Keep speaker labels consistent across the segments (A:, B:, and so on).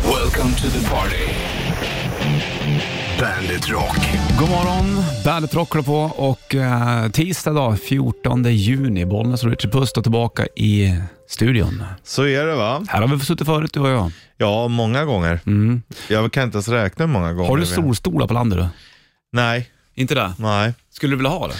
A: Welcome to the party. Bandit Rock.
B: God morgon, Bandet Rock håller på och eh, tisdag idag, 14 juni, Bollnäs och Richard Puss är tillbaka i studion.
C: Så är det va?
B: Här har vi suttit förut du och jag.
C: Ja, många gånger.
B: Mm.
C: Jag kan inte ens räkna hur många gånger.
B: Har du
C: vi-
B: solstolar på landet du?
C: Nej,
B: Inte det?
C: nej.
B: Skulle du vilja ha det?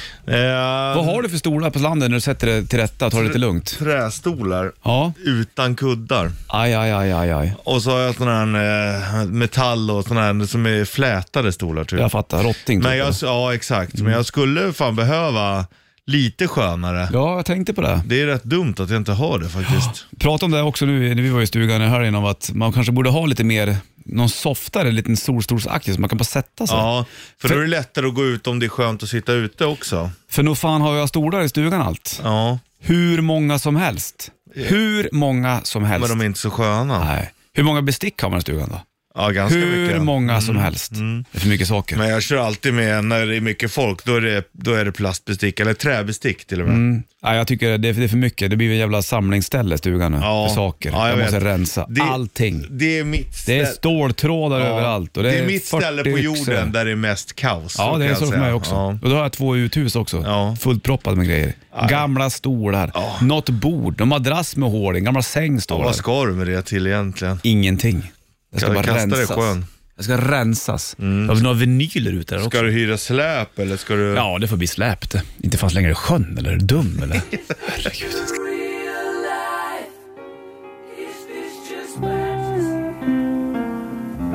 C: Eh,
B: Vad har du för stolar på landet när du sätter dig till rätta och tar det lite lugnt?
C: Trästolar
B: Ja.
C: utan kuddar.
B: Aj, aj, aj, aj, aj.
C: Och så har jag sådana här eh, metall och sådana här som är flätade stolar typ.
B: Jag fattar, rotting. typ, Mm.
C: Men jag,
B: eller?
C: ja, exakt. Men jag skulle fan behöva lite skönare.
B: Ja, jag tänkte på det.
C: Det är rätt dumt att jag inte har det faktiskt.
B: Prata om det också nu när vi var i stugan i helgen om att man kanske borde ha lite mer, någon softare liten solstolsaktig så man kan bara sätta sig.
C: Ja, för då är det lättare att gå ut om det är skönt att sitta ute också.
B: För nog fan har jag stolar i stugan allt.
C: Ja,
B: Hur många som helst. Hur många som helst.
C: men de är inte så sköna.
B: Nej. Hur många bestick har man i stugan då?
C: Ja, ganska
B: Hur
C: mycket.
B: många som helst. Det är för mycket saker.
C: Mm, Men jag kör alltid med, när det är mycket folk, då är det, då är det plastbestick, eller träbestick till och med.
B: Mm. Nej, jag tycker det är, det är för mycket. Det blir ett jävla samlingsställe i stugan nu
C: Ja.
B: för saker.
C: Ja, jag
B: jag måste
C: vet.
B: rensa
C: Det-
B: allting.
C: Det är mitt
B: Det är
C: ställe.
B: ståltrådar
C: Ja.
B: överallt. Och
C: det, är mitt
B: 40
C: ställe på jorden
B: yxor.
C: där det är mest kaos.
B: Ja, det
C: kan
B: är
C: jag
B: så för
C: säga.
B: mig också.
C: Ja.
B: Och då har jag två uthus också.
C: Ja.
B: Fullt proppade med grejer. Gamla stolar, något bord, någon madrass med hål i, gamla säng
C: Ja,
B: står
C: Vad
B: där.
C: ska du med det till egentligen?
B: Ingenting. Det ska
C: Kan
B: bara
C: du kasta det i
B: rensas.
C: sjön?
B: Det ska rensas. Det har vi några vinyler ute där också.
C: Ska du hyra släp eller ska du...
B: Ja, det får bli släpt. Inte fanns längre i sjön, eller? Är du dum, eller? Herregud.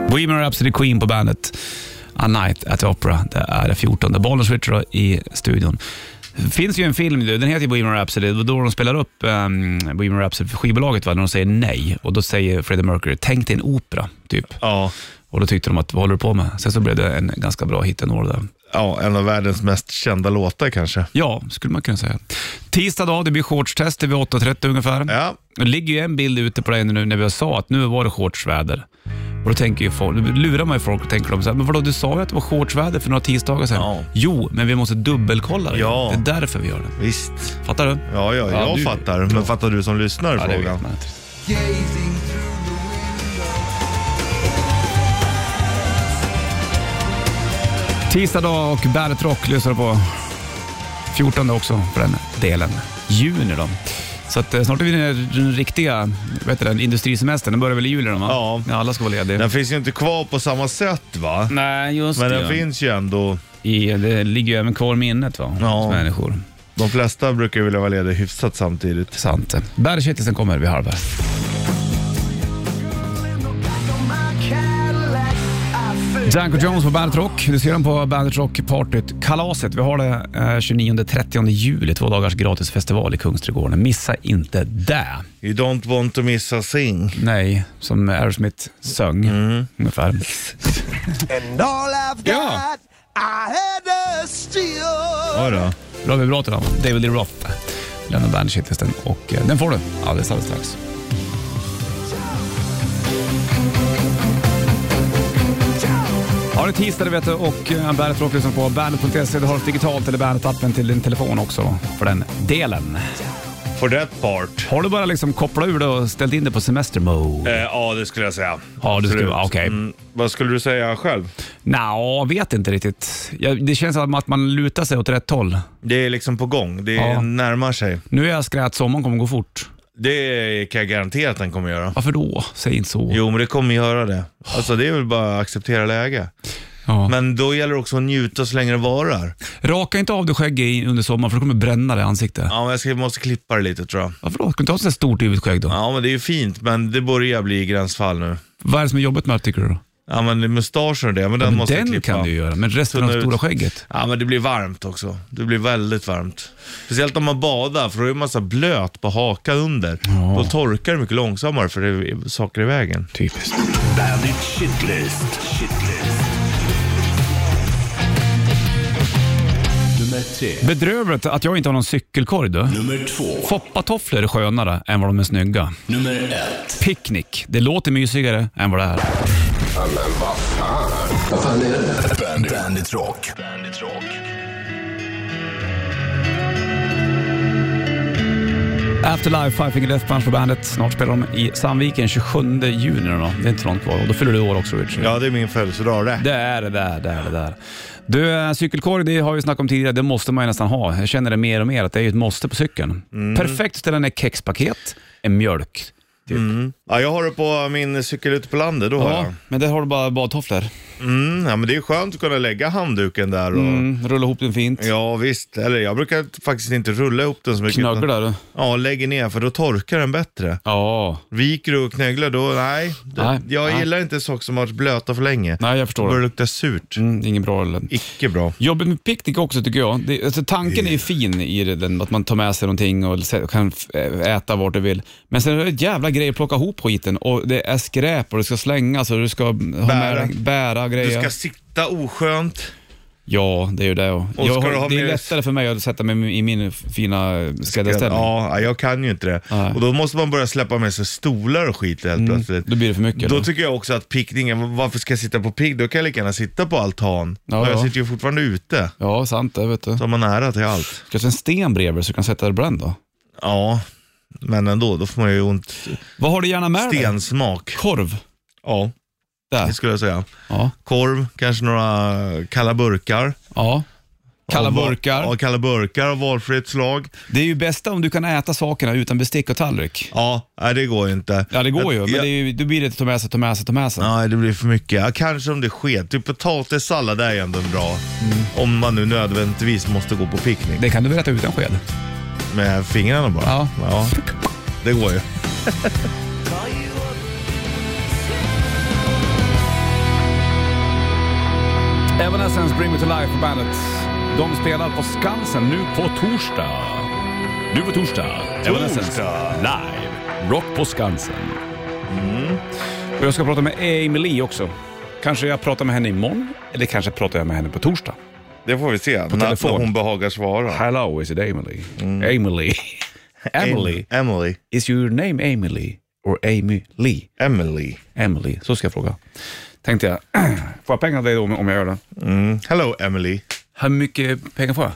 B: Bohemian Rhapsody Queen på bandet. A Night at the Opera. Det är 14. Bollen switchar i studion. Det finns ju en film, du, den heter ju Bohemian Rhapsody. Det var då de spelar upp um, Bohemian Rhapsody för skivbolaget, va? när de säger nej. Och då säger Freddie Mercury, tänk dig en opera, typ.
C: Ja.
B: Och då tyckte de att, vad håller du på med? Sen så blev det en ganska bra hit ändå. Där.
C: ja, en av världens mest kända låtar kanske.
B: Ja, skulle man kunna säga. Tisdag dag, det blir shortstester vid 8.30 ungefär.
C: Ja,
B: Det ligger ju en bild ute på dig nu när vi sa att nu var det shortsväder. Och då tänker ju folk, nu lurar man ju folk och tänker de så här, men vadå du sa ju att det var shortsväder för några tisdagar sedan.
C: Ja.
B: Jo, men vi måste dubbelkolla det.
C: Ja.
B: Det är därför vi gör det.
C: visst.
B: Fattar du?
C: Ja, ja,
B: Ja,
C: jag
B: du-
C: fattar. Men fattar du som lyssnar frågan?
B: man inte. Tisdag dag och Bandet Rock lyssnar du på. 14 också för den delen. Juni då. Så att eh, snart är vi nere i den riktiga vet du, den industrisemestern. Den börjar väl i juli då? va?
C: Ja.
B: Alla ska vara lediga.
C: Den finns ju inte kvar på samma sätt va?
B: Nej, just
C: Men
B: det.
C: den finns ju ändå.
B: I, det ligger ju även kvar i minnet va?
C: Ja.
B: Hos människor.
C: De flesta brukar ju vilja vara lediga hyfsat samtidigt.
B: Sant. Bärkittelsen kommer vid halv här. Danko Jones på Bandet Rock. Du ser dem på Bandet Rock-partyt. Kalaset, vi har det 29-30 juli. Två dagars gratisfestival i Kungsträdgården. Missa inte det.
C: You don't want to miss a thing.
B: Nej, som Aerosmith söng ungefär.
D: And all I've
B: Yeah.
D: got, I had to steal.
C: Ja, då.
B: Bra vibrator då. David Lee Roth lämnar Bandet-shitlisten och eh, den får du alldeles, alldeles strax. Ja, det är tisdag det vet du och eh, Bandet Rock lyssnar på bandet.se. Du har oss digitalt eller Bandet-appen till din telefon också då, för den delen.
C: For that part.
B: Har du bara liksom kopplat ur det och ställt in det på semester mode?
C: Eh, ja, det skulle jag säga.
B: Ja, det skulle
C: Absolut.
B: vara okej.
C: Mm, vad skulle du säga själv?
B: Nja, vet inte riktigt. Jag, det känns som att man lutar sig åt rätt håll.
C: Det är liksom på gång. Det
B: Ja.
C: närmar sig.
B: Nu är jag skrät, sommaren kommer gå fort.
C: Det kan jag garantera att den kommer göra.
B: Varför då? Säg inte så.
C: Jo, men det kommer göra det. Alltså det är väl bara att acceptera läge.
B: Ja.
C: Men då gäller det också att njuta så länge det varar.
B: Raka inte av dig skägget i- under sommaren för det kommer bränna dig i ansiktet.
C: Ja, men jag ska, måste klippa det lite tror jag.
B: Varför då? Kan du inte ha sådär stort yvigt skägg då?
C: Ja, men det är ju fint, men det börjar bli gränsfall nu.
B: Vad är det som är jobbigt med det tycker du då?
C: Ja, men mustaschen och det, men den
B: Men
C: måste
B: den
C: jag klippa.
B: kan du ju göra, men resten
C: Tunna
B: av det stora
C: ut.
B: skägget?
C: Ja, men det blir varmt också. Det blir väldigt varmt. Speciellt om man badar, för då är man så här blöt på haka under. Då torkar det mycket långsammare för det är saker i vägen.
B: Typiskt.
A: Bandit Shitlist. Shitlist. Nummer tre.
B: Bedrövligt att jag inte har någon cykelkorg du.
A: Nummer två.
B: Foppatofflor är skönare än vad de är snygga.
A: Nummer ett.
B: Picknick, det låter mysigare än vad det är.
A: Bandit, Bandit Rock. Bandit Rock.
B: Afterlife, Five Finger Death Punch på bandet. Snart spelar de i Sandviken 27 juni. Då. Det är inte långt kvar. Och Då fyller du år också Richard.
C: Ja, det är min födelsedag det.
B: Det är det där, det är det där. Du, eh, cykelkorg, det har vi snackat om tidigare, det måste man ju nästan ha. Jag känner det mer och mer, att det är ju ett måste på cykeln.
C: Mm.
B: Perfekt att ställa ner kexpaket, en mjölk.
C: Ja, jag har det på min cykel ute på landet, då har jag.
B: men där har du bara badtofflor.
C: Mm, ja, men det är skönt att kunna lägga handduken där och...
B: Mm, rulla ihop den fint.
C: Ja, visst. Eller jag brukar faktiskt inte rulla ihop den så mycket. utan-
B: Knögglar du?
C: Ja, lägger ner för då torkar den bättre.
B: Ja.
C: Viker du och knögglar då, nej. Det,
B: Nej,
C: jag
B: nej.
C: gillar inte saker som har varit blöta för länge.
B: Nej, jag
C: Då
B: förstår
C: börjar det
B: det.
C: lukta surt.
B: Mm, det är inget bra. eller-
C: Icke bra.
B: Jobbet med picknick också tycker jag. Det, alltså, tanken är ju fin i det, den, att man tar med sig någonting och se- kan f- eh, äta vart du vill. Men sen är det jävla grejer att plocka ihop skiten och det är skräp och det ska slängas och du ska ha
C: Bära.
B: Med, bära
C: Du
B: grejer.
C: ska sitta oskönt.
B: Ja, det är ju det. Och
C: Och
B: jag,
C: ska du ha
B: har- det är
C: med-
B: lättare för mig att sätta mig i min fina skräddarställning.
C: Ja, jag kan ju inte det.
B: Nej.
C: Och då måste man börja släppa med sig stolar och skit helt plötsligt.
B: Då blir det för mycket.
C: Då
B: Då
C: tycker jag också att pickningen, varför ska jag sitta på pick? Då kan jag lika gärna sitta på altan.
B: Ja,
C: och jag
B: ja.
C: sitter ju fortfarande ute.
B: ja, sant det. Vet du.
C: Så har man nära till allt.
B: Kanske en sten bredvid så du kan sätta dig bränd då.
C: Ja, men ändå, då får man ju ont.
B: Vad har du gärna med dig?
C: Stensmak.
B: Korv.
C: Ja, det
B: Där.
C: skulle jag säga.
B: Ja.
C: Korv, kanske några kalla burkar.
B: ja. Kalla
C: Och va-
B: burkar.
C: Ja, kalla burkar av valfritt slag.
B: Det är ju bästa om du kan äta sakerna utan bestick och tallrik.
C: Ja, nej, det går ju inte.
B: Ja, det går ju, men
C: Jag-
B: det är ju, då blir det ta med sig, ta med sig, ta med sig.
C: Nej, det blir för mycket. Ja, kanske om det sker. Typ potatissallad är ju ändå bra.
B: Mm.
C: Om man nu nödvändigtvis måste gå på picknick
B: Det kan du väl äta utan sked?
C: med fingrarna bara.
B: Ja.
C: Det går ju.
B: Evanescence Bring Me To Life på bandet. De spelar på Skansen nu på torsdag. Nu på torsdag. Evanescence live. Rock på Skansen. Mm. Och jag ska prata med Emily också. Kanske jag pratar med henne imorgon, eller kanske pratar jag med henne på torsdag.
C: Det får vi se. På
B: telefon.
C: När hon behagar svara.
B: Hello, is it Emily? Emily. Emily.
C: Em- Emily.
B: Is your name Emily or Amy Lee?
C: Emily.
B: Emily, så ska jag fråga. Tänkte jag, får jag pengar av dig då om- om jag gör det?
C: Hello Emily.
B: Hur mycket pengar får jag?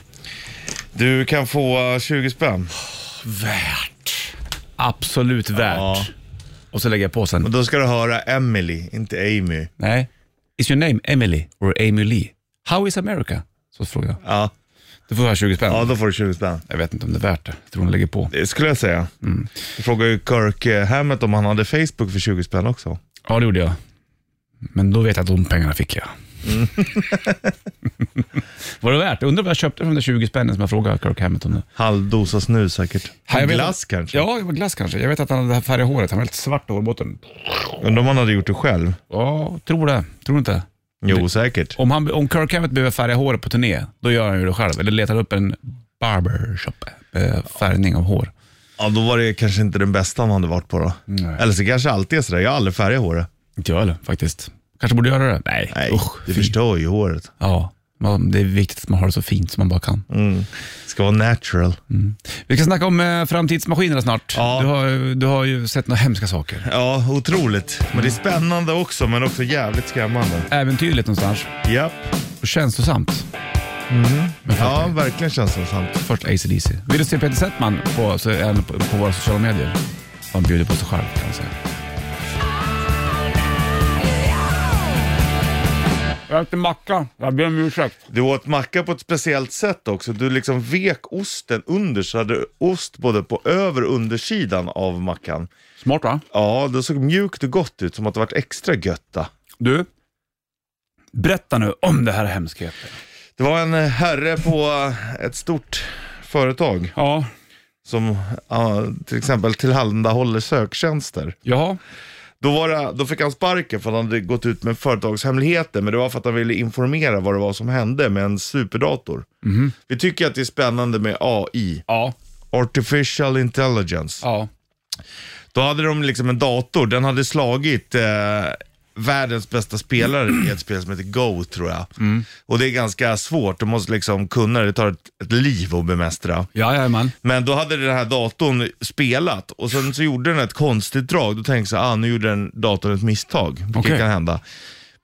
C: Du kan få eh, 20 spänn.
B: Värt. Absolut värt.
C: Ja.
B: Och så lägger jag på sen.
C: Men då ska du höra Emily, inte Amy.
B: Nej. Is your name Emily or Amy Lee? How is America? Så frågar jag.
C: Ja,
B: Du får jag 20 spänn.
C: ja då får du 20 spänn.
B: Jag vet inte om det är värt det. Jag tror hon lägger på.
C: Det skulle jag säga.
B: Mm.
C: Jag frågade ju Kirk eh, Hammett om han hade Facebook för 20 spänn också.
B: Ja, det gjorde jag. Men då vet jag att de pengarna fick jag.
C: Mm.
B: Var det värt? Jag undrar vad jag köpte för de där 20 spännen som jag frågade Kirk Hammett om. det.
C: Halvdosa snus säkert.
B: Ja, jag vet
C: Glass
B: att,
C: kanske?
B: Ja, det var glass kanske. Jag vet att han hade det här färga håret. Han var lite svart i hårbotten.
C: Undrar om han hade gjort det själv?
B: Ja, tror det. Tror du inte?
C: Jo, säkert.
B: Om, han, om Kirk Hammett behöver färga håret på turné, då gör han ju det själv. Eller letar upp en barbershop, eh, färgning av hår.
C: Ja, då var det kanske inte den bästa han hade varit på då.
B: Nej.
C: Eller så kanske alltid är sådär, jag har aldrig färgat håret.
B: Inte jag heller faktiskt. Kanske borde göra det. Nej,
C: Nej,
B: Usch,
C: det
B: fy.
C: förstör ju håret.
B: Ja, man- det är viktigt att man har det så fint som man bara kan.
C: Ska vara natural.
B: Vi ska snacka om eh, framtidsmaskinerna snart.
C: Ja.
B: Du, har, du har ju sett några hemska saker.
C: Ja, otroligt. Men det är spännande också, men också jävligt skrämmande.
B: Äventyrligt någonstans
C: Japp.
B: och känslosamt.
C: Ja, verkligen känns det sant.
B: Först ACDC. Vill du se Peter Settman på, så är han på, på våra sociala medier. Han bjuder på sig själv kan man säga. Jag äter macka. Jag ber om ursäkt.
C: Du åt macka på ett speciellt sätt också. Du liksom vek osten under så hade du ost både på över och undersidan av mackan.
B: Smart va?
C: Ja, det såg mjukt och gott ut, som att det varit extra götta.
B: Du, berätta nu om det här hemskheten.
C: Det var en eh, herre på eh, ett stort företag
B: Ja,
C: som ja, till exempel tillhandahåller söktjänster.
B: jaha.
C: Då, var det, då fick han sparken för att han hade gått ut med företagshemligheter, men det var för att han ville informera vad det var som hände med en superdator. Vi tycker att det är spännande med AI,
B: Ja,
C: Artificial Intelligence.
B: ja.
C: Då hade de liksom en dator, den hade slagit eh, världens bästa spelare i ett spel som heter Go tror jag. Och det är ganska svårt, du måste liksom kunna det, det tar ett, ett liv att bemästra.
B: Jajamän.
C: Men då hade den här datorn spelat och sen så gjorde den ett konstigt drag. Då tänkte jag så här, ah, nu gjorde den datorn ett misstag, vilket
B: Okej.
C: kan hända.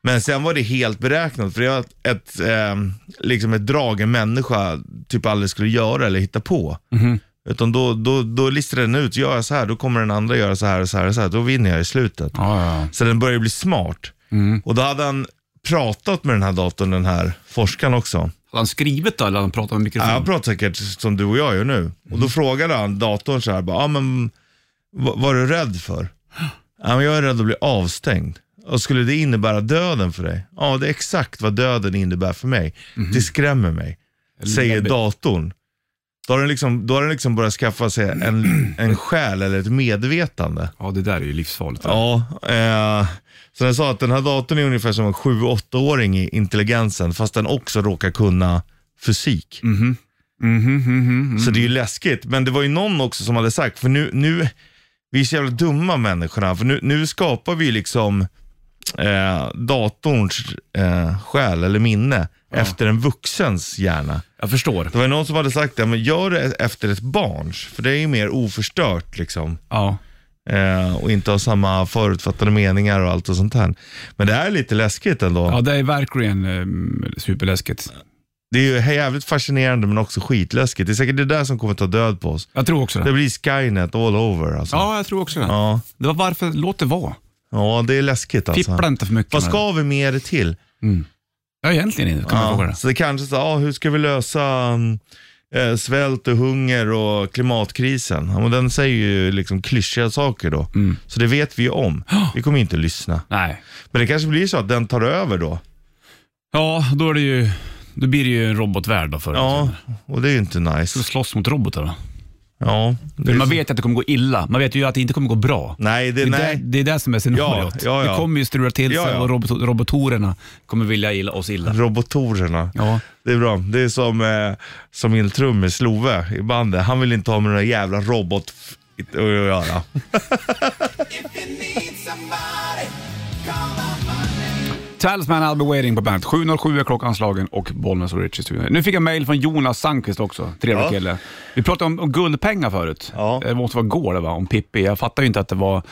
C: Men sen var det helt beräknat, för det var ett, ehm, ett, eh, liksom ett drag en människa typ aldrig skulle göra eller hitta på. Utan då, då, då listar den ut, gör jag så här, då kommer den andra göra så här och så här och så här. Då vinner jag i slutet.
B: Ja, ja, ja.
C: Så den börjar bli smart. Och då hade han pratat med den här datorn, den här forskaren också.
B: Har han skrivit då eller har han pratat med mikrofon?
C: Ja, han pratar säkert som du och jag gör nu. Och då frågade han datorn så här, bara, ah, men, vad vad är du rädd för? Ja, men jag är rädd att bli avstängd. Och skulle det innebära döden för dig? Ja, det är exakt vad döden innebär för mig. Det skrämmer mig, säger
B: läbbigt.
C: datorn. Då har den liksom, då har den liksom börjat skaffa sig en, en själ eller ett medvetande.
B: Ja, det där är ju livsfarligt.
C: Ja, eh, så den sa att den här datorn är ungefär som en 7-8-åring i intelligensen, fast den också råkar kunna fysik.
B: Mm,
C: Så det är ju läskigt. Men det var ju någon också som hade sagt, för nu, nu vi är så jävla dumma människorna, för nu, nu skapar vi liksom eh, datorns eh, själ eller minne efter en vuxens hjärna.
B: Jag förstår.
C: Det var ju någon som hade sagt det, men gör det efter ett barns, för det är ju mer oförstört liksom
B: Ja.
C: eh, och inte ha samma förutfattade meningar och allt och sånt här. Men det är lite läskigt ändå.
B: ja, det är verkligen eh, superläskigt.
C: Det är ju jävligt fascinerande men också skitläskigt. Det är säkert det där som kommer ta död på oss.
B: Jag tror också
C: Det
B: det.
C: blir Skynet all over alltså.
B: Ja, jag tror också det.
C: Ja,
B: Det var varför, låt det vara.
C: Ja, det är läskigt alltså.
B: Fippla inte för mycket
C: Vad
B: med
C: ska vi med det till?
B: Ja, egentligen inte. Kan man fråga
C: Ja,
B: det.
C: så det kanske så, ah, hur ska vi lösa mm, eh, svält och hunger och klimatkrisen? Ja, men den säger ju liksom klyschiga saker då.
B: Mm.
C: Så det vet vi ju om. Vi kommer inte lyssna.
B: Nej.
C: Men det kanske blir så att den tar över då.
B: Ja, då, är det ju, då blir det ju en robotvärld då förr eller
C: Ja,
B: senare.
C: och det är ju inte nice.
B: Ska vi slåss mot robotar då?
C: Ja. det är
B: Men man
C: så-
B: vet ju att det kommer gå illa. Man vet ju att det inte kommer gå bra.
C: Nej, det,
B: Det är, Där,
C: nej.
B: det är det som är scenariot.
C: Ja, ja, ja.
B: Det kommer ju strula till sig
C: Ja, ja.
B: och robot, robotorerna kommer vilja illa oss illa.
C: Robotorerna.
B: Ja.
C: Det är bra. Det är som, eh, som min trummis Love i bandet. Han vill inte ha med några jävla robot f- att göra.
B: Talisman I'll be waiting på bandet. 7.07 är klockanslagen och Bollnäs och Richie studion. Nu fick jag mail från Jonas Sandqvist också. Trevlig
C: Ja.
B: kille. Vi pratade om, om guldpengar förut. Eh,
C: Ja.
B: Det måste vara går det va? Om Pippi. Jag fattar ju inte att det var...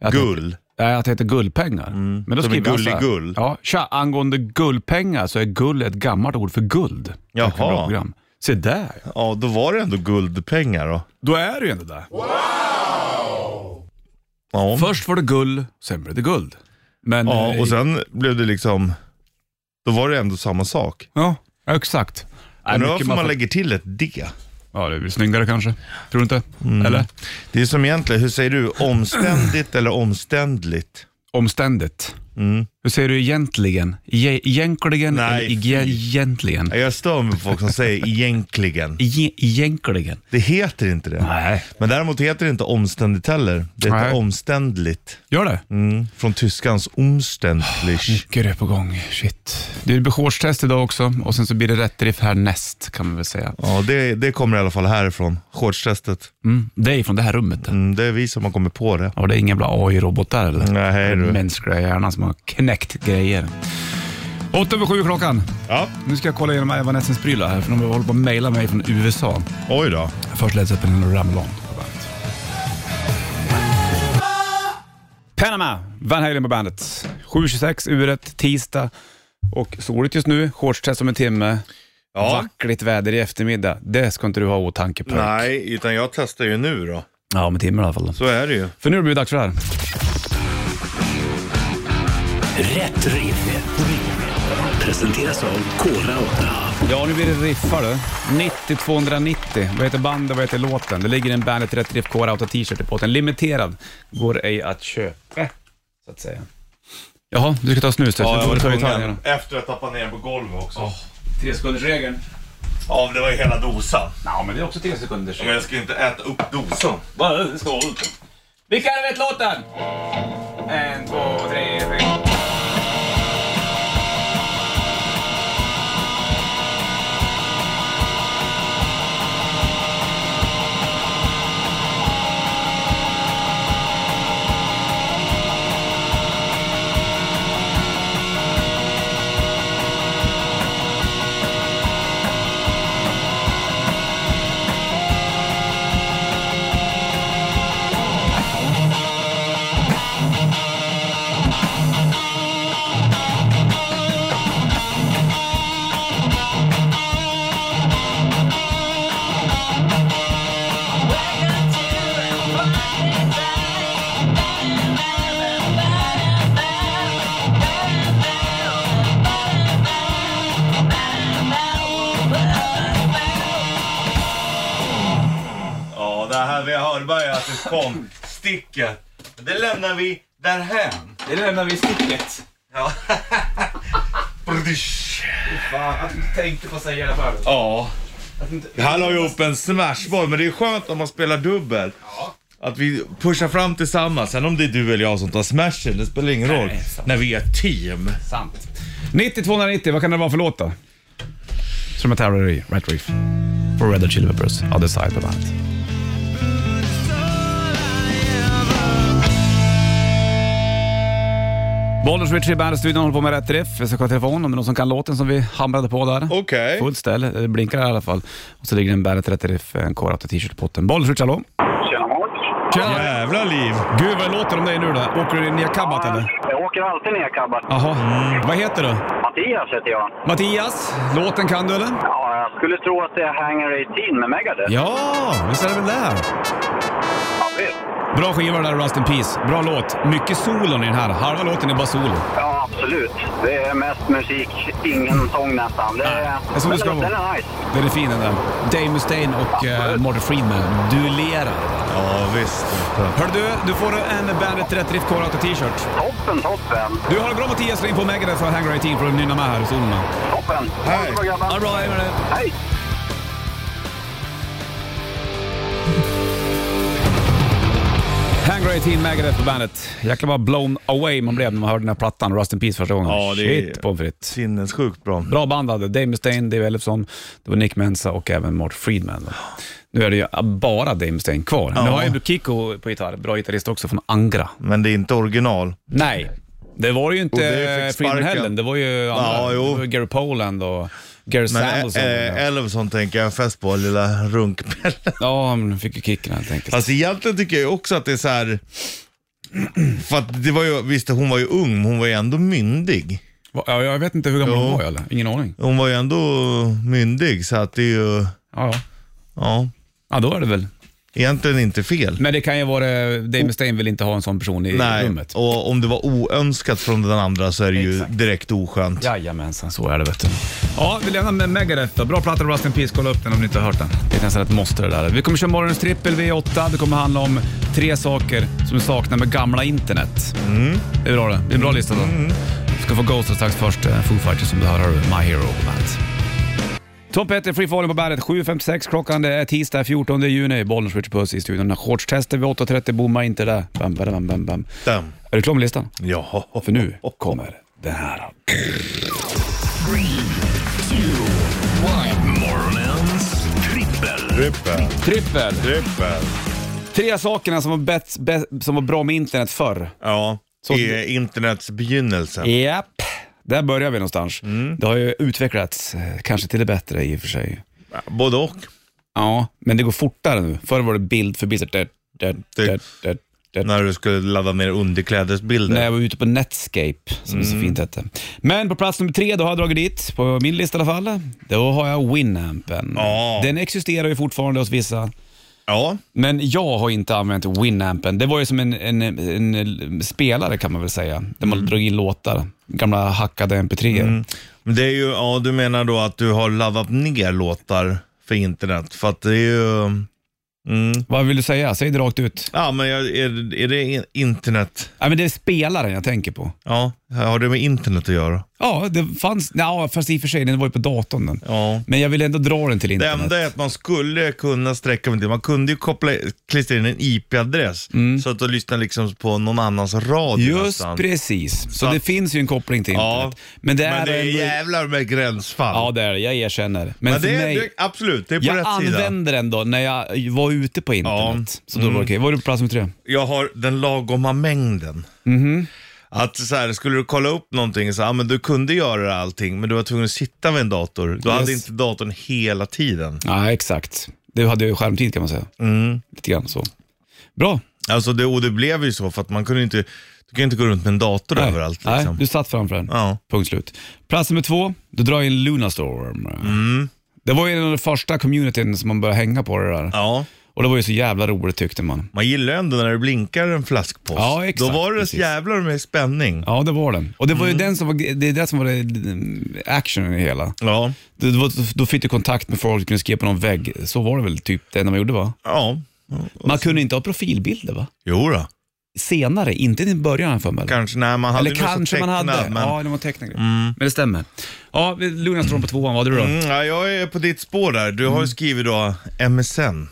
B: Att
C: Gull.
B: Nej, att det heter guldpengar. Men då
C: Mm. Som
B: skriver
C: en
B: han så här,
C: gulligull.
B: Ja, tja, angående guldpengar så är gull ett gammalt ord för guld. Tack för
C: Jaha.
B: bra program. Se där.
C: Ja, då var det ändå guldpengar då.
B: Då är det ju ändå där.
C: Ja,
B: Först var det gull, sen blev det guld. Men,
C: ja
B: eh,
C: och sen blev det liksom... Då var det ändå samma sak.
B: Ja, exakt. Nej,
C: Men
B: mycket
C: varför man
B: får-
C: lägger till ett D?
B: Ja, det blir snyggare kanske. Tror du inte?
C: Mm.
B: Eller?
C: Det är som egentligen, hur säger du? Omständigt eller omständligt?
B: Omständigt. Hur säger du egentligen? E- egentligen
C: Mm. Nej,
B: eller ege- egentligen?
C: Ja, Jag stör mig på folk som säger egentligen.
B: E- egentligen?
C: Det heter inte det.
B: Nej.
C: Men däremot heter det inte omständigt heller. Det heter
B: Nej.
C: omständligt.
B: Gör det?
C: Mm. Från tyskans omständlich.
B: Mycket är på gång. Shit. Det är behårstest idag också och sen så blir det rätt riff härnäst kan man väl säga.
C: Ja, det, det kommer i alla fall härifrån. Shortstestet.
B: Mm. Det är från det här rummet. det.
C: Mm, det är vi som har kommit på det.
B: Ja, det är ingen jävla AI-robot där eller?
C: Nej, hej
B: Det är
C: du.
B: Mänskliga hjärnan som har knäckt grejer. 8 över 7 klockan.
C: Ja,
B: Nu ska jag kolla igenom Evanescence prylar här för de håller på att mejla mig från USA.
C: oj då.
B: Först Led Zeppelin och Ramlon på bandet. Panama, Van Halen på bandet. 7.26 uret, tisdag och soligt just nu. Shortstest om en timme.
C: Ja.
B: Vackligt väder i eftermiddag. Det ska inte du ha i åtanke Perk.
C: Nej, utan jag testar ju nu då.
B: Ja, om en timme i alla fall.
C: Så är det ju.
B: För nu blir det dags för det här.
A: Rätt riff. Presenteras av Kora 8.
B: Ja, nu blir det riffar du. 90-290. Vad heter bandet vad heter låten? Det ligger en Bandet Rätt Riff Core Auto t-shirt i potten. Limiterad. Går ej att köpa, så att säga. Jaha, du ska ta snus du. Sen får du ta gitarren.
C: Efter att tappa ner på golvet också.
B: Tre sekundersregeln.
C: Ja, men det var ju hela dosan.
B: Ja, men det är också tre sekunders.
C: jag ska ju inte äta upp dosan.
B: Vilka är vet låten? En, två, tre, fyra.
E: Thank
C: Hörberg att det kom sticket. Det lämnar vi därhän.
B: Det lämnar vi sticket.
C: Ja.
B: Fan, att du inte tänkte på att säga det förut.
C: ja.
B: Att inte...
C: Han la ju upp en smashboll, men det är skönt om man spelar dubbel. Att vi pushar fram tillsammans. Sen om det är du eller jag som tar smashen, det spelar ingen roll.
B: Nej, sant.
C: När vi är ett team.
B: Sant. 90-290, vad kan det vara för låt då? Som jag tävlar i, Rat Reef. For Red Hot Chili Peppers, Other Side på bandet. Bollers Richie i Bandet-studion håller på med Rätt Riff. Jag ska kolla telefonen om det är någon som kan låten som vi hamrade på där.
C: Okej.
B: Fullt ställ, det blinkar i alla fall. Och så ligger en Bandet Rätt Riff, en K8 t-shirt i potten. Bollers Richie, hallå? Tjena!
C: Jävla liv.
B: Gud vad det låter om dig nu då. Åker du ner kabbat eller?
E: Jag åker alltid ner kabbat.
B: Jaha. Vad heter du?
E: Mattias heter jag.
B: Mattias, låten kan du eller?
E: Ja, jag skulle tro att det är Hangar 18 med Megadeth.
B: Ja, visst är det väl det?
E: Ja, visst.
B: Bra skiva där, Rust in Peace. Bra låt. Mycket solon i den här. Halva låten är bara solo.
E: ja absolut. Det är mest musik, ingen sång nästan. Det är,
B: Det är som det
E: men
B: ska
E: den,
B: vara.
E: den är nice.
B: Den är fin den där. Dave Mustaine och uh, Morgan Freeman duellerar.
C: Ja, visst.
B: Hör du, du får en Bandet Rätt Riff Core t-shirt.
E: Toppen, toppen.
B: Du, har det bra Mattias. Ring på Megadeth för Hangar 18 för att nynna med här i solen.
E: Toppen.
C: Hej.
E: Ha det bra, grabbar.
B: Ha det bra, hej med dig.
E: Hej.
B: Hangar 18 Megadeth på bandet. Jäklar vad blown away man blev när man hörde den här plattan, Rust in Peace första gången.
C: Ja, det är-
B: Shit pommes frites.
C: Sinnessjukt bra.
B: Bra band hade Dave Mustaine, Dave Ellefson, det var Nick Mensa och även Mort Friedman. då. Nu är det ju bara Dave Mustaine kvar. Nu har ju Kiko på gitarr, bra gitarrist också från Angra.
C: Men det är inte original.
B: Nej, det var ju
C: Och
B: inte
C: det fick
B: Friedman
C: sparken.
B: heller. Det var ju andra.
C: Ja, jo.
B: Det var ju Gary Poland och Gary
C: Men
B: Samuelson.
C: äh, Elvson tänker jag fäst på, lilla runkpelle.
B: ja, han fick ju kicken helt enkelt.
C: Alltså egentligen tycker jag ju också att det är så här... För att det var ju, visst hon var ju ung, men hon var ju ändå myndig.
B: Va- ja, jag vet inte hur gammal
C: Jo.
B: han var eller? Ingen aning.
C: Hon var ju ändå myndig, så att det är ju,
B: Ja, ja.
C: ja,
B: ja, då är det väl.
C: egentligen inte fel.
B: Men det kan ju vara, Dave Mustaine vill inte ha en sån person i
C: Nej,
B: rummet.
C: och om det var oönskat från den andra så är det ju direkt oskönt.
B: Jajamensan, så är det vet du. Ja, vi lämnar med Megadeth då. Bra platta Rust in Peace, kolla upp den om ni inte har hört den. Det är nästan ett måste det där. Vi kommer köra morgonens trippel V8. Det kommer handla om tre saker som du saknar med gamla internet. Det är bra det. Det är en bra lista då. Vi ska få Ghost strax först. eh, Foo Fighters som du hör, hör du. My Hero på bandet. Topp 1 är Free Falling på bandet. 7.56 klockan. Det är tisdag 14 juni. Bollnäs Richard Puss i studion. Shortstester vid 8.30. Bomma inte där. Bam, bam, bam, bam, bam.
C: Damn.
B: Är du klar med listan?
C: Ja.
B: För nu kommer det här.
A: Morgonens trippel.
C: Trippel,
B: Trippel!
C: trippel.
B: Tre sakerna som var, bett, bä- som var bra med internet förr.
C: Ja,
B: Så-
C: i internets begynnelse.
B: Japp. Där börjar vi någonstans.
C: Mm.
B: Det har ju utvecklats, eh, kanske till det bättre i och för sig.
C: Både och.
B: Ja, men det går fortare nu. Förr var det bild för bild. så där, där,
C: Det-
B: där, där, där.
C: När du skulle ladda ner underklädesbilder.
B: När jag var ute på Netscape, som
C: Mm.
B: det så fint hette. Men på plats nummer tre, då har jag dragit dit, på min lista i alla fall. Då har jag Winampen.
C: Ja.
B: Den existerar ju fortfarande hos vissa.
C: Ja,
B: Men jag har inte använt Winampen. Det var ju som en, en, en spelare kan man väl säga, där man
C: Mm.
B: drog in låtar. Gamla hackade mp3
C: men det är ju, ja du menar då att du har laddat ner låtar för internet. För att det är ju, mm.
B: Vad vill du säga? Säg det rakt ut.
C: ja men jag- är, är det in- internet?
B: Ja, men det är spelaren jag tänker på.
C: Ja, har det med internet att göra?
B: Ja, det fanns... Ja, fast i och för sig, den var ju på datorn den.
C: Ja.
B: Men jag vill ändå dra den till
C: Det
B: internet.
C: enda är att man skulle kunna sträcka mig till, man kunde ju koppla, klistra in en IP-adress så att du lyssnar liksom på någon annans radio
B: Mm. Just
C: nästan.
B: precis. Så,
C: att-
B: det finns ju en koppling till
C: Ja.
B: internet. Men det är...
C: Men det är
B: ändå-
C: jävlar med gränsfall.
B: Ja, det är det. Jag erkänner. Men,
C: men
B: för
C: det är,
B: mig...
C: det, absolut, det är på
B: jag
C: rätt sida.
B: använder den då när jag var ute på internet. Så då var det okej. Var du på plats nummer tre?
C: jag har den lagoma mängden.
B: Mm-hmm.
C: Att så här, skulle du kolla upp någonting, så, ja, men du kunde göra allting, men du var tvungen att sitta vid en dator. Du hade inte datorn hela tiden.
B: Ja, exakt. Du hade ju skärmtid kan man säga.
C: Mm.
B: Lite grann så. Bra.
C: Alltså det, och det blev ju så, för att man kunde inte, du kan inte gå runt med en dator
B: Nej.
C: överallt.
B: Nej,
C: Liksom.
B: du satt framför den.
C: Ja.
B: Punkt slut. Plats nummer två, du drar in Lunarstorm.
C: Mm.
B: Det var ju en av de första communityn som man började hänga på det där.
C: Ja,
B: Och det var ju så jävla roligt tyckte man.
C: man gillar ju ändå när det blinkar en flaskpost.
B: Ja, exakt,
C: Då var det
B: precis.
C: jävlar med spänning.
B: Ja, det var den. Och det var
C: Mm.
B: ju den som var, det är det som var det- actionen i hela.
C: Ja,
B: Det var, då fick du kontakt med folk, du kunde skriva på någon vägg. Så var det väl typ det enda man gjorde va?
C: ja.
B: Man kunde inte ha profilbilder va?
C: Jo då.
B: Senare, inte i början har jag för mig. eller?
C: Kanske, nej man hade
B: Eller
C: ju något
B: kanske
C: så
B: man hade.
C: tecknat, Men...
B: Ja, det var tecknat. Men det stämmer. Ja, vi- Lugna Strån på tvåan, vad hade du då?
C: Mm, ja, jag är på ditt spår där. Du
B: Mm.
C: har ju skrivit då MSN.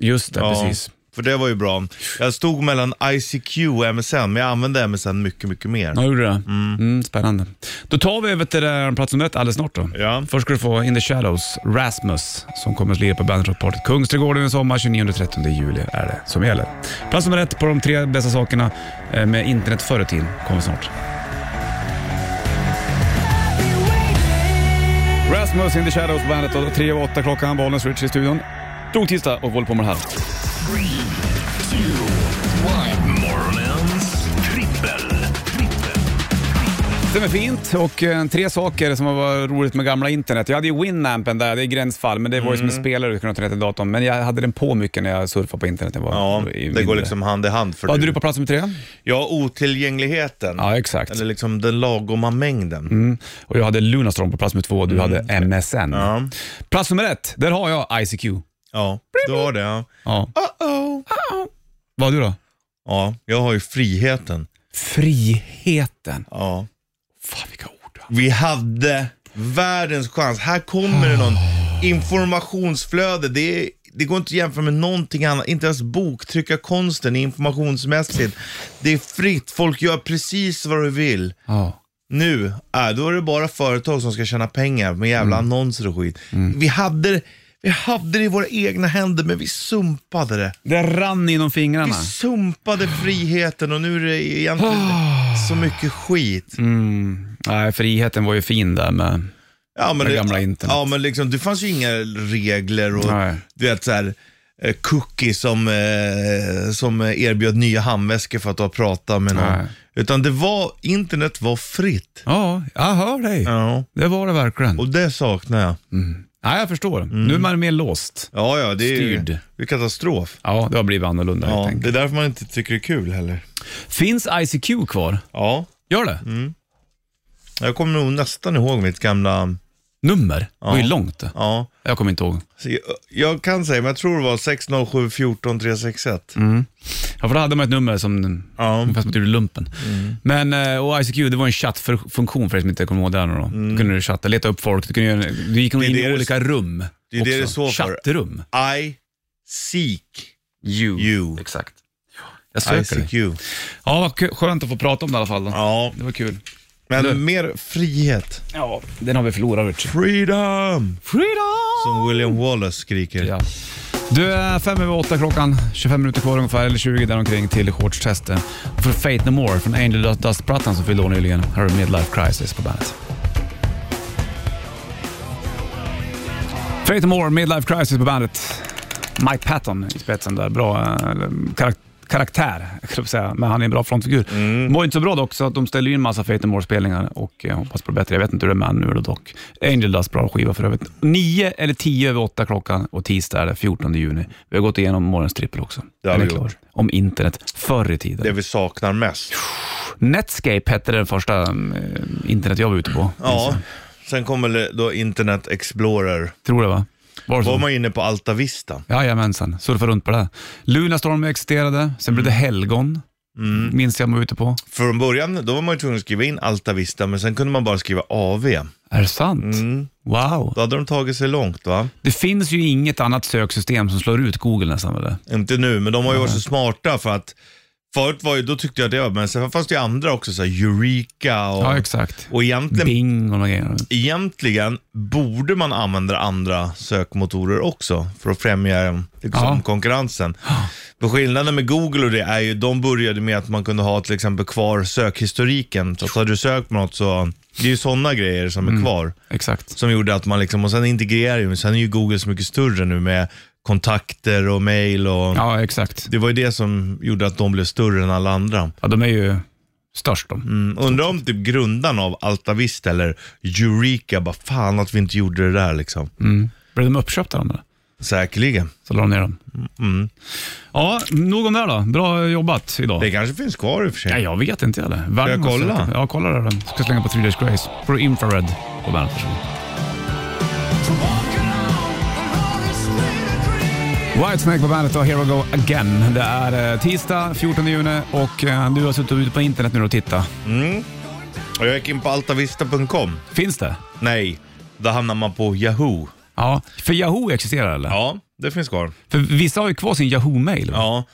B: Just det,
C: Ja,
B: precis.
C: För det var ju bra. Jag stod mellan ICQ och MSN, men jag använde MSN mycket, mycket mer.
B: Ja, gjorde du det? Mm, spännande. Då tar vi över till det här plats nummer ett alldeles snart då.
C: Ja.
B: Först ska du få In the Shadows, Rasmus, som kommer att lira på Bandit-rapportet Kungsträdgården i sommar, 29-30 juli är det som gäller. Plats nummer ett på de tre bästa sakerna eh, med internet förr i tiden kommer snart. Rasmus in the Shadows på bandet och 3 och 8 klockan, Bollnäs Rich i studion. Drog tisdag och vi håller på med det här.
A: Morgonens trippel. trippel.
B: Det är fint och eh, tre saker som var roligt med gamla internet. Jag hade ju Winampen där, det är gränsfall, men det var ju
C: Mm.
B: som en spelare du kunde ta ner till datorn. Men jag hade den på mycket när jag surfade på internet. Det var
C: Ja,
B: i
C: det
B: mindre.
C: går liksom hand i hand för
B: Vad hade
C: dig.
B: du på plats nummer tre?
C: Ja, otillgängligheten.
B: Ja, exakt. Mm.
C: Eller liksom den lagoma mängden.
B: Och jag hade Lunarstorm på plats nummer två och du hade MSN.
C: Mm. Ja.
B: Plats nummer ett, där har jag ICQ.
C: ja, du har det. Ja.
B: Ja.
C: Uh-oh.
B: Vad har du då?
C: ja, jag har ju friheten.
B: Friheten.
C: Ja.
B: Fan vilka ord.
C: Vi hade världens chans. Här kommer det någon informationsflöde. Det, är, det går inte att jämföra med någonting annat. Inte ens boktryckarkonsten är informationsmässigt. Det är fritt. Folk gör precis vad de vill.
B: Ja.
C: Nu, äh, då är det bara företag som ska tjäna pengar med jävla annonser och skit. Vi, hade, vi hade det i våra egna händer, men vi sumpade det.
B: Det rann inom
C: Vi
B: fingrarna.
C: sumpade friheten och nu är det egentligen så mycket skit.
B: Nej, friheten var ju fin där med...
C: Ja, men
B: Det gamla internet.
C: Ja, men liksom, det fanns ju inga regler och
B: Nej.
C: du vet så här, eh, cookie som, eh, som erbjöd nya handväskor för att du har pratat med någon.
B: Nej.
C: Utan det var, internet var fritt.
B: Ja, jag hör dig.
C: Ja,
B: Det var det verkligen.
C: och Mm. det saknar jag.
B: Nej, jag förstår. Nu är man mer låst.
C: Ja, ja, det är ju
B: Styrd.
C: det är katastrof.
B: Ja, det har blivit annorlunda helt
C: Ja, det
B: enkelt.
C: är därför man inte tycker det är kul heller.
B: Finns ICQ kvar?
C: Ja,
B: Gör det?
C: jag kommer nog nästan ihåg mitt gamla,
B: Nummer? Det var ju långt det.
C: ja.
B: Jag kommer inte ihåg.
C: Så jag- Jag kan säga, men jag tror det var 607 14 361.
B: Mm. Ja, för då hade man ett nummer som,
C: Ja. Mm.
B: ungefär som att du gjorde lumpen. Men, eh, och ICQ, det var en chattfunktion för er som inte kommer ihåg det här nu då. Då kunde du chatta, leta upp folk, du, kunde göra, du gick in
C: Mm. det
B: i
C: det-
B: olika rum.
C: det är det det står för.
B: Chattrum.
C: I seek
B: You.
C: You.
B: Exakt. Jag söker dig.
C: ICQ.
B: Ja, vad kö- skönt att få prata om det i alla fall. Då.
C: Ja,
B: Det var kul.
C: men
B: Du.
C: mer frihet.
B: Ja, den har vi förlorat Richard.
C: Freedom!
B: Freedom!
C: Som William Wallace skriker.
B: Ja. Du, är fem över åtta klockan, 25 minuter kvar ungefär, eller 20 däromkring till shortstestet. För Fate No More från Angel Dust- Dust-plattan som fyllde år nyligen. Här har du Midlife Crisis på bandet. Fate No More, Midlife Crisis på bandet. Mike Patton i spetsen där. Bra eh, karak- karaktär, jag skulle säga. men han är en bra frontfigur.
C: Mm.
B: Mår inte så bra dock, så att de ställer ju en massa Fate No More-spelningar och jag hoppas på det bättre. Jag vet inte hur det är med han nu då dock. Angel Dust, bra skiva för övrigt. 9 eller 10 över 8 klockan och tisdag är det 14 juni. Vi har gått igenom morgonens trippel också.
C: Det har
B: Den är
C: vi
B: klar.
C: gjort.
B: Om internet förr i tiden.
C: Det vi saknar mest.
B: Netscape hette den första eh, internet jag var ute på.
C: Ja, sen kommer det då Internet Explorer.
B: Tror det va? Var det så?
C: Då var man inne på Alta Vista.
B: Jajamensan, surfa runt på det. Lunarstorm existerade, sen blev
C: Mm.
B: det Helgon. Minns jag man var ute på.
C: Från början då var man ju tvungen att skriva in Alta Vista, men sen kunde man bara skriva AV.
B: Är det sant? Wow.
C: Mm. Då hade de tagit sig långt va?
B: Det finns ju inget annat söksystem som slår ut Google nästan eller?
C: Inte nu, men de har ju varit så smarta för att förut var ju, då tyckte jag det, var- men sen fanns det ju andra också, så här Eureka och,
B: Ja, exakt.
C: och egentligen
B: Bing och de grejerna.
C: egentligen borde man använda andra sökmotorer också för att främja liksom,
B: Ja.
C: konkurrensen. Men skillnaden med Google och det är ju, de började med att man kunde ha till exempel kvar sökhistoriken. Så att har du sökt på något så, det är ju sådana grejer som
B: Mm.
C: är kvar.
B: Exakt.
C: Som gjorde att man liksom, och sen integrerar ju, sen är ju Google så mycket större nu med kontakter och mail och
B: Ja, exakt.
C: Det var ju det som gjorde att de blev större än alla andra.
B: Ja, de är ju störst de.
C: Mm, undrar om typ grundarna av Alta Vista eller Eureka bara, fan att vi inte gjorde det där liksom.
B: Blev de uppköpta de där?
C: Säkerligen.
B: Så la de ner dem.
C: Mm.
B: Ja, nog om det här då. Bra jobbat idag.
C: Det kanske finns kvar i och för sig.
B: Ja, jag vet inte heller. Världen
C: jag
B: måste-
C: kolla?
B: Ja, kolla det. då. Ska slänga på Three Days Grace. På Infrared på bandet.
F: Walking on the road is made a dream.
B: Whitesnake på bandet och Here I Go Again. Det är eh, tisdag 14 juni och eh, du har suttit ute på internet nu och tittat.
C: Och jag gick in på altavista.com.
B: Finns det?
C: Nej, då hamnar man på Yahoo.
B: Ja, för Yahoo existerar eller?
C: Ja, det finns kvar.
B: För vissa har ju kvar sin Yahoo-mail. va?
C: Ja,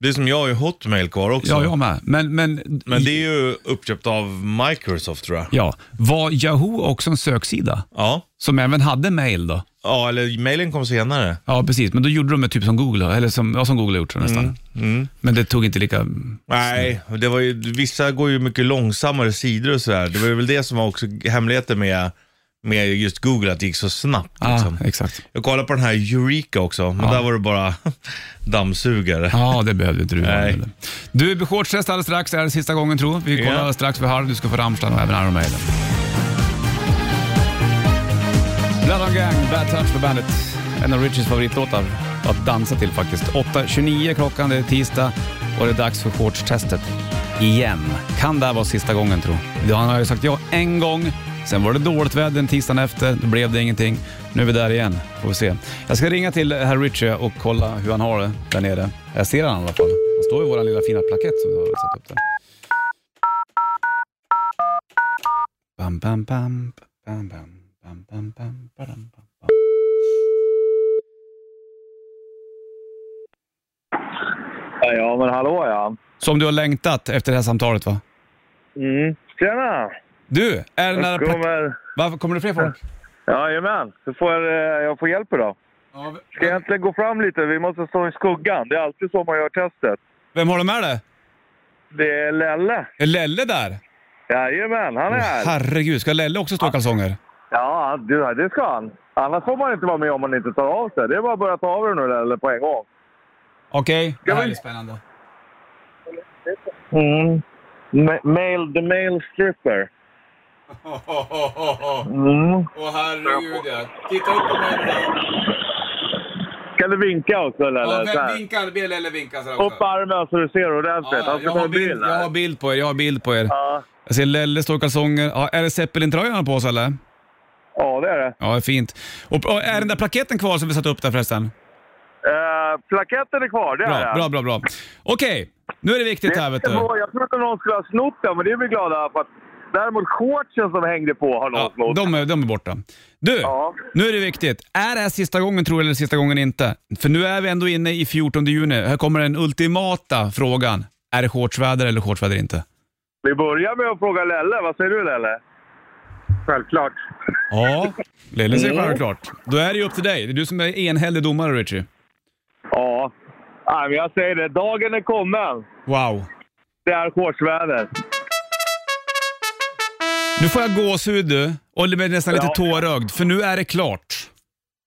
C: det är som jag har ju Hotmail kvar också.
B: ja, jag med. Men, men,
C: Men det är ju uppköpt av Microsoft tror jag.
B: ja, var Yahoo också en söksida?
C: Ja,
B: Som även hade mail då?
C: ja eller mailen kom senare.
B: Ja, precis. Men då gjorde de det typ som Google, eller som, ja, som Google har gjort så nästan. Men det tog inte lika...
C: Nej, det var ju, vissa går ju mycket långsammare sidor och sådär. Det var väl det som var också hemligheten med, med just Google, att det gick så snabbt.
B: Ah,
C: Liksom.
B: Exakt.
C: Jag kollade på den här Eureka också, men där var det bara dammsugare.
B: Ja, det behövde inte du göra.
C: Nej.
B: eller? Du, blir shortstest alldeles strax. Det är sista gången tror jag. Vi kollar
C: Ja.
B: strax vid halv. Du ska få Rammstein och även Iron Maiden. Blood on Gang, Bad Touch på bandet. En av Richards favoritlåtar att dansa till faktiskt. 8.29 klockan, det är tisdag och det är dags för shortstestet igen. Kan det här vara sista gången tro? Han har ju sagt ja en gång, sen var det dåligt väder den tisdagen efter, då blev det ingenting. Nu är vi där igen, får vi se. Jag ska ringa till herr Richie och kolla hur han har det där nere. Jag ser han i alla fall. Han står i vår lilla fina plakett som vi har satt upp där. Bam, bam, bam, bam, bam, bam, bam, bam, badam, bam, bam.
F: Ja, men hallå ja.
B: Som du har längtat efter det här samtalet va?
F: Mm. Tjena!
B: Du, är den här...
F: Jag
B: Kommer...
F: kommer...
B: Varför kommer det fler folk?
F: Jajamän, du får, eh, jag får hjälp idag. Ska jag egentligen gå fram lite? Vi måste stå i skuggan. Det är alltid så man gör testet.
B: Vem har du med dig?
F: Det är Lelle.
B: Är Lelle där?
F: Jajamän, han är här.
B: Herregud, ska Lelle också stå i kalsonger?
F: Ja, det, det ska han. Annars får man inte vara med om man inte tar av sig. Det är bara att börja ta av dig nu Lelle på en gång.
B: Okej, det här
F: vi-
B: är spännande.
F: Mm. Ma- Male, the male stripper. Mm.
B: Åh herregud ja. Titta upp på mig nu
F: Kan du vinka också Lelle? Så här.
B: vinkar? Be Lelle vinka sådär
F: Upp armen så du ser ordentligt. Han ska
B: jag,
F: ta
B: har
F: en
B: bild,
F: bild.
B: jag
F: här.
B: har bild på er, jag har bild på er.
F: Ja.
B: Jag ser Lelle står i kalsonger. Ja, är det Zeppelin-tröjan han har på sig eller?
F: ja, det är det.
B: Ja, det är fint. Och, och är den där plaketten kvar som vi satte upp där förresten?
F: Eh, plaketten är kvar, det är
B: Bra,
F: den.
B: bra, bra. bra. Okej, nu är det viktigt här vet
F: Det
B: du.
F: var- Jag trodde någon skulle ha snott den, men det är vi glada för. Att, däremot shortsen som hängde på har någon
B: Ja,
F: snott.
B: de, är, de är borta. Du,
F: Ja.
B: nu är det viktigt. Är det här sista gången tror du eller sista gången inte? För nu är vi ändå inne i 14 juni. Här kommer den ultimata frågan. Är det shortsväder eller shortsväder inte?
F: Vi börjar med att fråga Lelle. Vad säger du Lelle? Självklart.
B: Ja, Lille
F: Mm.
B: säger självklart. Då är det ju upp till dig. Det är du som är enhällig domare, Richie.
F: Ja. Nej, men jag säger det. Dagen är kommen.
B: Wow.
F: Det är shortsväder.
B: Nu får jag gåshud du och det blir nästan lite
F: Ja.
B: tårögd, för nu är det klart.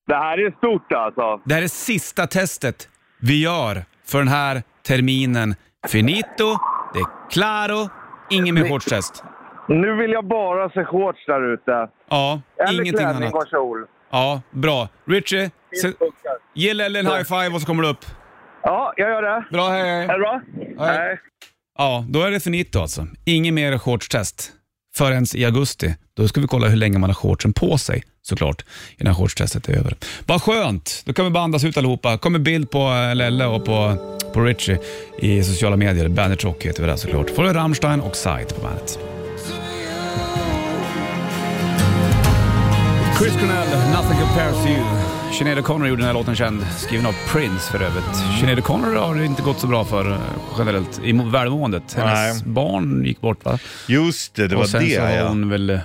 F: Det här är stort alltså.
B: Det här är sista testet vi gör för den här terminen. Finito, de claro, ingen mer shortstest.
F: Nu vill jag bara se shorts där ute.
B: Ja,
F: Eller
B: ingenting
F: klänning
B: annat.
F: och kjol.
B: Ja, bra. Richie, se,
F: funkar.
B: ge Lelle en high five och så kommer du upp.
F: Ja, jag gör det.
B: Bra, hej,
F: Är
B: hej.
F: det bra? Nej.
B: Ja, då är det finito alltså. Inget mer shortstest förrän i augusti. Då ska vi kolla hur länge man har shortsen på sig såklart innan shortstestet är över. Vad skönt! Då kan vi bara andas ut allihopa. kommer bild på eh, Lelle och på, på Richie i sociala medier. Bandit Rock heter vi där såklart. Får du Rammstein och Sight på bandet. Chris Cornell, Nothing Compares to You. Sinead O'Connor gjorde den här låten känd, skriven av Prince för övrigt. Sinead O'Connor har det inte gått så bra för eh, generellt, i mo- välmåendet. Hennes barn gick bort va?
C: Just det, det var
B: och sen
C: det
B: så har
C: ja.
B: hon väl eh,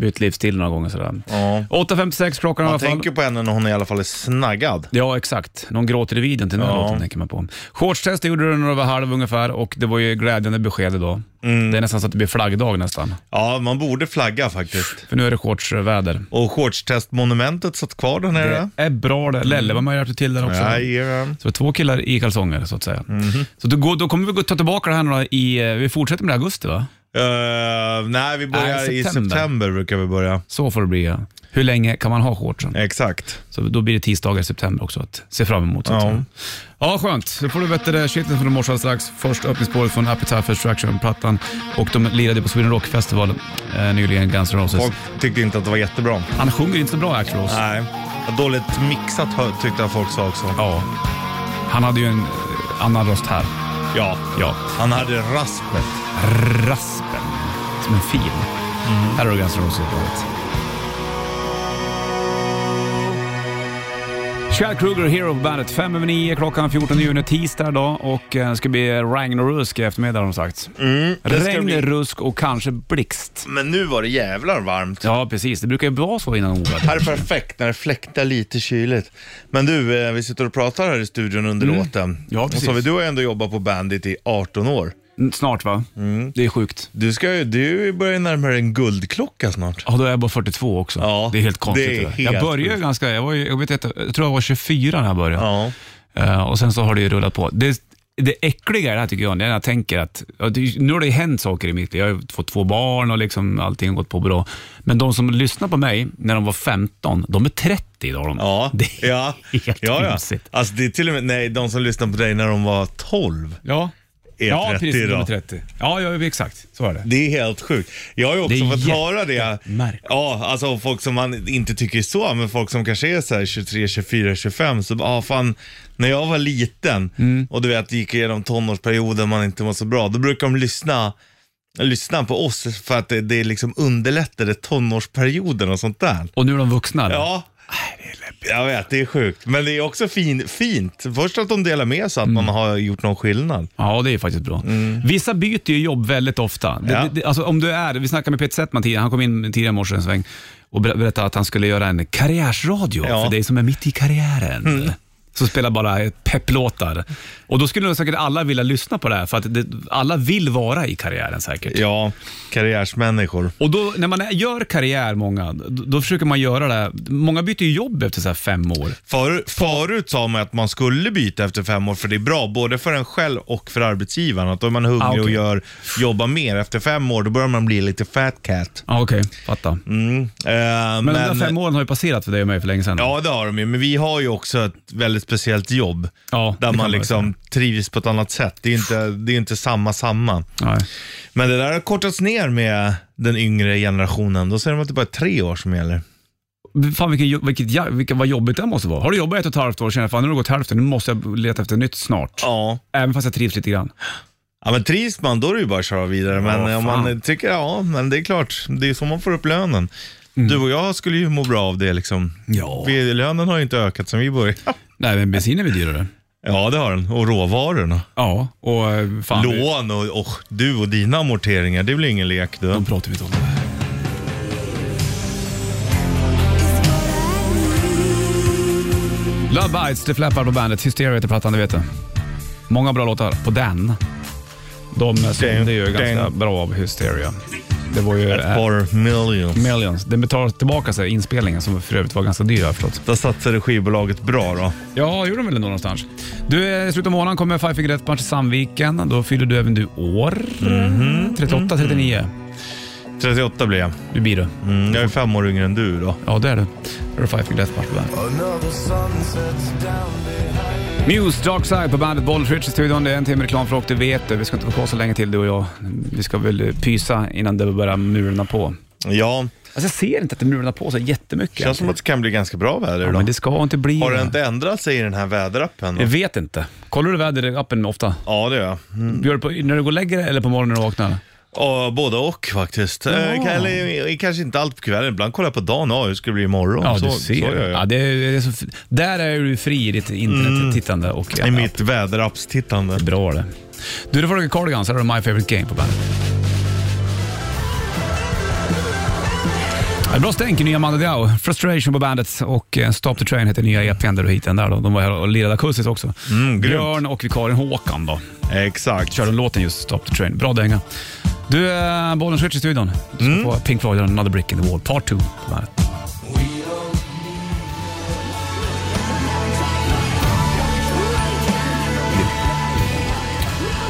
B: bytt livsstil några gånger sådär.
C: Ja.
B: 8.56 klockan i alla
C: Man
B: fall.
C: tänker på henne när hon i alla fall är snaggad.
B: Ja, exakt. Någon gråter i videon till den här
C: Ja.
B: låten tänker man på. Shortstest gjorde du när du var halv ungefär och det var ju glädjande besked idag.
C: Mm.
B: Det är nästan så att det blir flaggdag nästan.
C: Ja, man borde flagga faktiskt.
B: För nu är det shortsväder.
C: Och shortstestmonumentet satt kvar där nere.
B: Det är bra det. Lelle var med och hjälpte till där också.
C: Jajamän.
B: Så det är två killar i kalsonger så att säga.
C: Mhm.
B: Så då, går- då kommer vi gå- ta tillbaka det här några i, eh, vi fortsätter med det i augusti va?
C: Eh, nej, vi börjar
B: Nej,
C: i
B: september.
C: september brukar vi börja.
B: Så får det bli. ja. Hur länge kan man ha shortsen?
C: Exakt.
B: Så då blir det tisdagar i september också att se fram emot. Så att
C: Ja.
B: säga. ja, skönt. Då får du bättre shitlist från i morse alldeles strax. Först öppningsspåret från Appetite for Destruction-plattan och de lirade på Sweden Rock Festival eh, nyligen, Guns N' Roses.
C: Folk tyckte inte att det var jättebra.
B: Han sjunger inte så bra, Axl Rose.
C: Nej. Vad Dåligt mixat hö- tyckte jag folk sa också.
B: Ja. Han hade ju en eh, annan röst här.
C: Ja.
B: Ja.
C: Han hade raspet.
B: Raspen. Som en fil. Här har du Guns N' Roses på Chad Kruger, Hero på bandet. Fem över nio, klockan 14 juni, tisdag idag och eh, det ska bli regn och rusk i eftermiddag har de sagt.
C: Mm, det ska
B: Regn,
C: bli-
B: rusk och kanske blixt.
C: Men nu var det jävlar varmt.
B: Ja, precis. Det brukar ju vara så innan ovädret.
C: Här är perfekt när det fläktar lite kyligt. Men du, eh, vi sitter och pratar här i studion under låten.
B: Mm. Ja,
C: och
B: precis.
C: så, har vi- du har ju ändå jobbat på Bandit i 18 år.
B: Mm, Snart va? Det är sjukt.
C: Du, ska, ju- du börjar ju närma dig en guldklocka snart.
B: Ja, då är jag bara 42 också.
C: Ja,
B: det är helt konstigt.
C: det är
B: Det där.
C: helt
B: jag började ju
C: sjukt.
B: ganska... Jag, var ju, jag, vet, inte, jag tror jag var 24 när jag började.
C: Ja.
B: Eh, och sen så har det ju rullat på. Det, det äckliga i det här tycker jag, när jag tänker att ja, det, nu har det ju hänt saker i mitt liv. Jag har ju fått två barn och liksom allting har gått på bra. Men de som lyssnar på mig när de var 15, de är 30 idag. De.
C: Ja.
B: Det är
C: ja.
B: helt
C: ja, ja.
B: osigt.
C: Alltså det är till och med, nej, de som lyssnade på dig när de var 12
B: Ja.
C: är
B: Ja,
C: 30
B: precis. De är
C: idag.
B: 30. Ja, ja, exakt. Så är det.
C: Det är helt sjukt. Jag har ju
B: Det
C: också
B: är
C: fått höra det.
B: jättemärkligt.
C: Ja, alltså folk som man inte tycker är så, men folk som kanske är så här 23, 24, 25. Så ah, fan, när jag var liten
B: Mm.
C: och du vet, gick igenom tonårsperioden man inte var så bra, då brukar de lyssna lyssna på oss för att det, det liksom underlättade tonårsperioden och sånt där.
B: Och nu är de vuxna? eller?
C: Ja. Jag vet, det är sjukt. Men det är också fin, fint. Först att de delar med sig att
B: Mm.
C: man har gjort någon skillnad.
B: Ja, det är faktiskt bra. Vissa byter ju jobb väldigt ofta. Det,
C: Mm. Ja.
B: det- det, alltså, om du är, vi snackade med Peter Settman tidigare, han kom in tidigare i morse en sväng och ber- berättade att han skulle göra en karriärsradio
C: Ja. Mm.
B: för dig som är mitt i karriären. Så spelar bara pepplåtar. Och då skulle nog säkert alla vilja lyssna på det här, för att det, alla vill vara i karriären säkert.
C: Ja, karriärsmänniskor.
B: Och då, när man är- gör karriär, många, då, då försöker man göra det. här. Många byter ju jobb efter så här fem år.
C: För, förut sa man att man skulle byta efter fem år för det är bra, både för en själv och för arbetsgivaren. Att då är man hungrig
B: Ah, okej.
C: och gör, jobbar mer. Efter fem år då börjar man bli lite fat cat.
B: Ja, Okej, fatta.
C: Mm. Eh,
B: Men, de där fem åren har ju passerat för dig och mig för länge sedan.
C: Ja, det har de ju. Men vi har ju också ett väldigt speciellt jobb.
B: Ja, det
C: där
B: kan man
C: man
B: väl
C: liksom trivs på ett annat sätt. Det är ju inte, det är ju inte samma, samma.
B: Nej.
C: Men det där har kortats ner med den yngre generationen. Då säger de att det bara är tre år som gäller.
B: Fan vilken, jo- vilket, ja- vilken, vad jobbigt det måste vara. Har du jobbat ett och ett halvt år, känner jag, fan nu har det gått hälften, nu måste jag leta efter nytt snart.
C: Ja.
B: Även fast jag trivs lite grann.
C: Ja men trivs man då är det ju bara att köra vidare. Men
B: Ja,
C: om
B: fan.
C: man tycker, ja men det är klart, det är så man får upp lönen. Du och jag skulle ju må bra av det liksom.
B: Mm. Ja.
C: Vi, lönen har ju inte ökat sen vi började.
B: Nej, men bensinen blir dyrare.
C: Ja det har den, och råvarorna.
B: Ja, och eh, fan. vi-
C: Lån och, och du och dina amorteringar, det blir ingen lek du.
B: De pratar vi inte om. Love Bites, det fläppar på bandet. Hysteria heter plattan, det vet du. Många bra låtar på den. De eh, sålde ju
C: Ding,
B: ganska
C: ding.
B: bra av Hysteria. Det var ju... eh,
C: Ett par million.
B: Millions. Den betalar tillbaka sig, inspelningen, som för övrigt var ganska dyr har jag förstått.
C: Där satsade skivbolaget bra då.
B: Ja, gjorde de väl ändå någonstans. Du, eh, i slutet av månaden kommer Five Finger Death Punch till Sandviken. Då fyller du även du år. 38, 39.
C: 38 blev jag.
B: Du blir du.
C: Mm, jag är fem år yngre än du då.
B: Ja, det är du. Då är det Five Finger Death Punch på bandet. Muse, Dark Side på bandet Bollswitch i studion. Det är en timme reklam för och det vet du. Vi ska inte vara kvar så länge till du och jag. Vi ska väl eh, pysa innan det börjar mulna på.
C: Ja,
B: Alltså jag ser inte att det mulnar på så jättemycket.
C: känns som att det kan bli ganska bra väder
B: ja,
C: idag.
B: men det ska inte bli
C: Har det inte ändrat sig i den här väderappen? då?
B: Jag vet inte. Kollar du väderappen ofta?
C: Ja det gör jag.
B: Gör du på, när du går och lägger dig eller på morgonen när du vaknar?
C: Ja, både och faktiskt. Ja. Eller, eh, kanske inte allt på kvällen. Ibland kollar jag på dagen. Ja, hur ska det bli imorgon?
B: Ja,
C: så,
B: du ser.
C: Så gör jag. Mm.
B: Ja, det är, det är så, f- där är du fri i ditt internettittande och
C: I
B: ja,
C: mitt väderappstittande.
B: bra det. Du, det får du Cardigans. Här har du My Favorite Game på bandet. Ja, Bra stänk i nya Mando Diao. Frustration på bandet och eh, Stop the Train heter nya EPn där du hittade den där. Då. De var här och lirade akustiskt också.
C: Mm, grymt.
B: Björn och vikarien Håkan då.
C: Exakt.
B: körde låten just Stop the Train. Bra dänga. Du, eh, bollen switch i studion. Du ska få Pink Floyd och Another Brick in the Wall, Part 2 på bandet.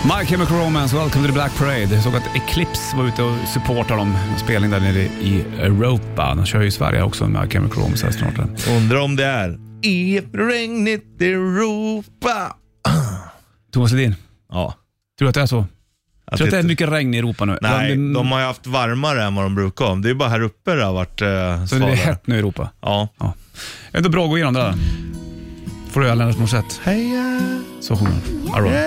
B: My Chemical Romance, Welcome to the Black Parade. Jag såg att Eclipse var ute och supportade dem. En spelning där nere i Europa. De kör ju i Sverige också med My Chemical Romance här snart.
C: Undrar om det är i regnet Europa.
B: Thomas Ledin,
C: Ja.
B: tror du att det är så?
C: Att
B: Tror du att det är
C: inte-
B: mycket regn i Europa nu?
C: Nej,
B: Men-
C: de har ju haft varmare än vad de brukar ha. Det är bara här uppe det har varit
B: Så
C: eh,
B: det är
C: svalare.
B: hett nu i Europa.
C: Ja.
B: Ja. Ändå bra att gå igenom det där. får du göra Lennart Norstedt.
C: Heja!
B: Så sjunger hon. Aron.
C: Eh.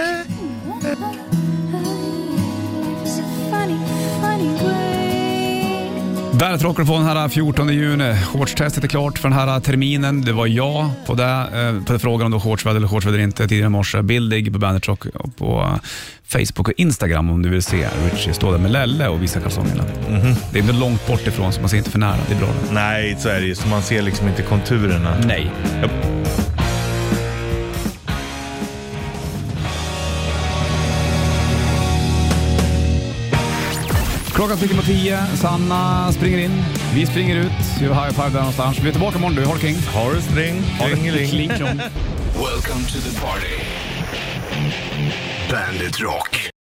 G: It's a funny, funny way.
B: Bandet Rockar på den här 14 juni. Shortstestet är klart för den här terminen. Det var jag på det. eh, På frågan om det var shortsväder eller shortsväder inte tidigare i morse. Bildig på Bandet Rock och på eh, Facebook och Instagram om du vill se Richie stå där med Lelle och visa kalsongerna. Det är inte långt bort ifrån så man ser inte för nära. Det är bra. det.
C: Nej, så är det ju. Så man ser liksom inte konturerna.
B: Nej. Klockan tickar mot tio. Sanna springer in. Vi springer ut. Gör high five där någonstans. Vi är tillbaka imorgon du. Håll kring.
C: Har du string? Klingeling.
B: Kling, kling.
A: Welcome to the party. Bandit Rock.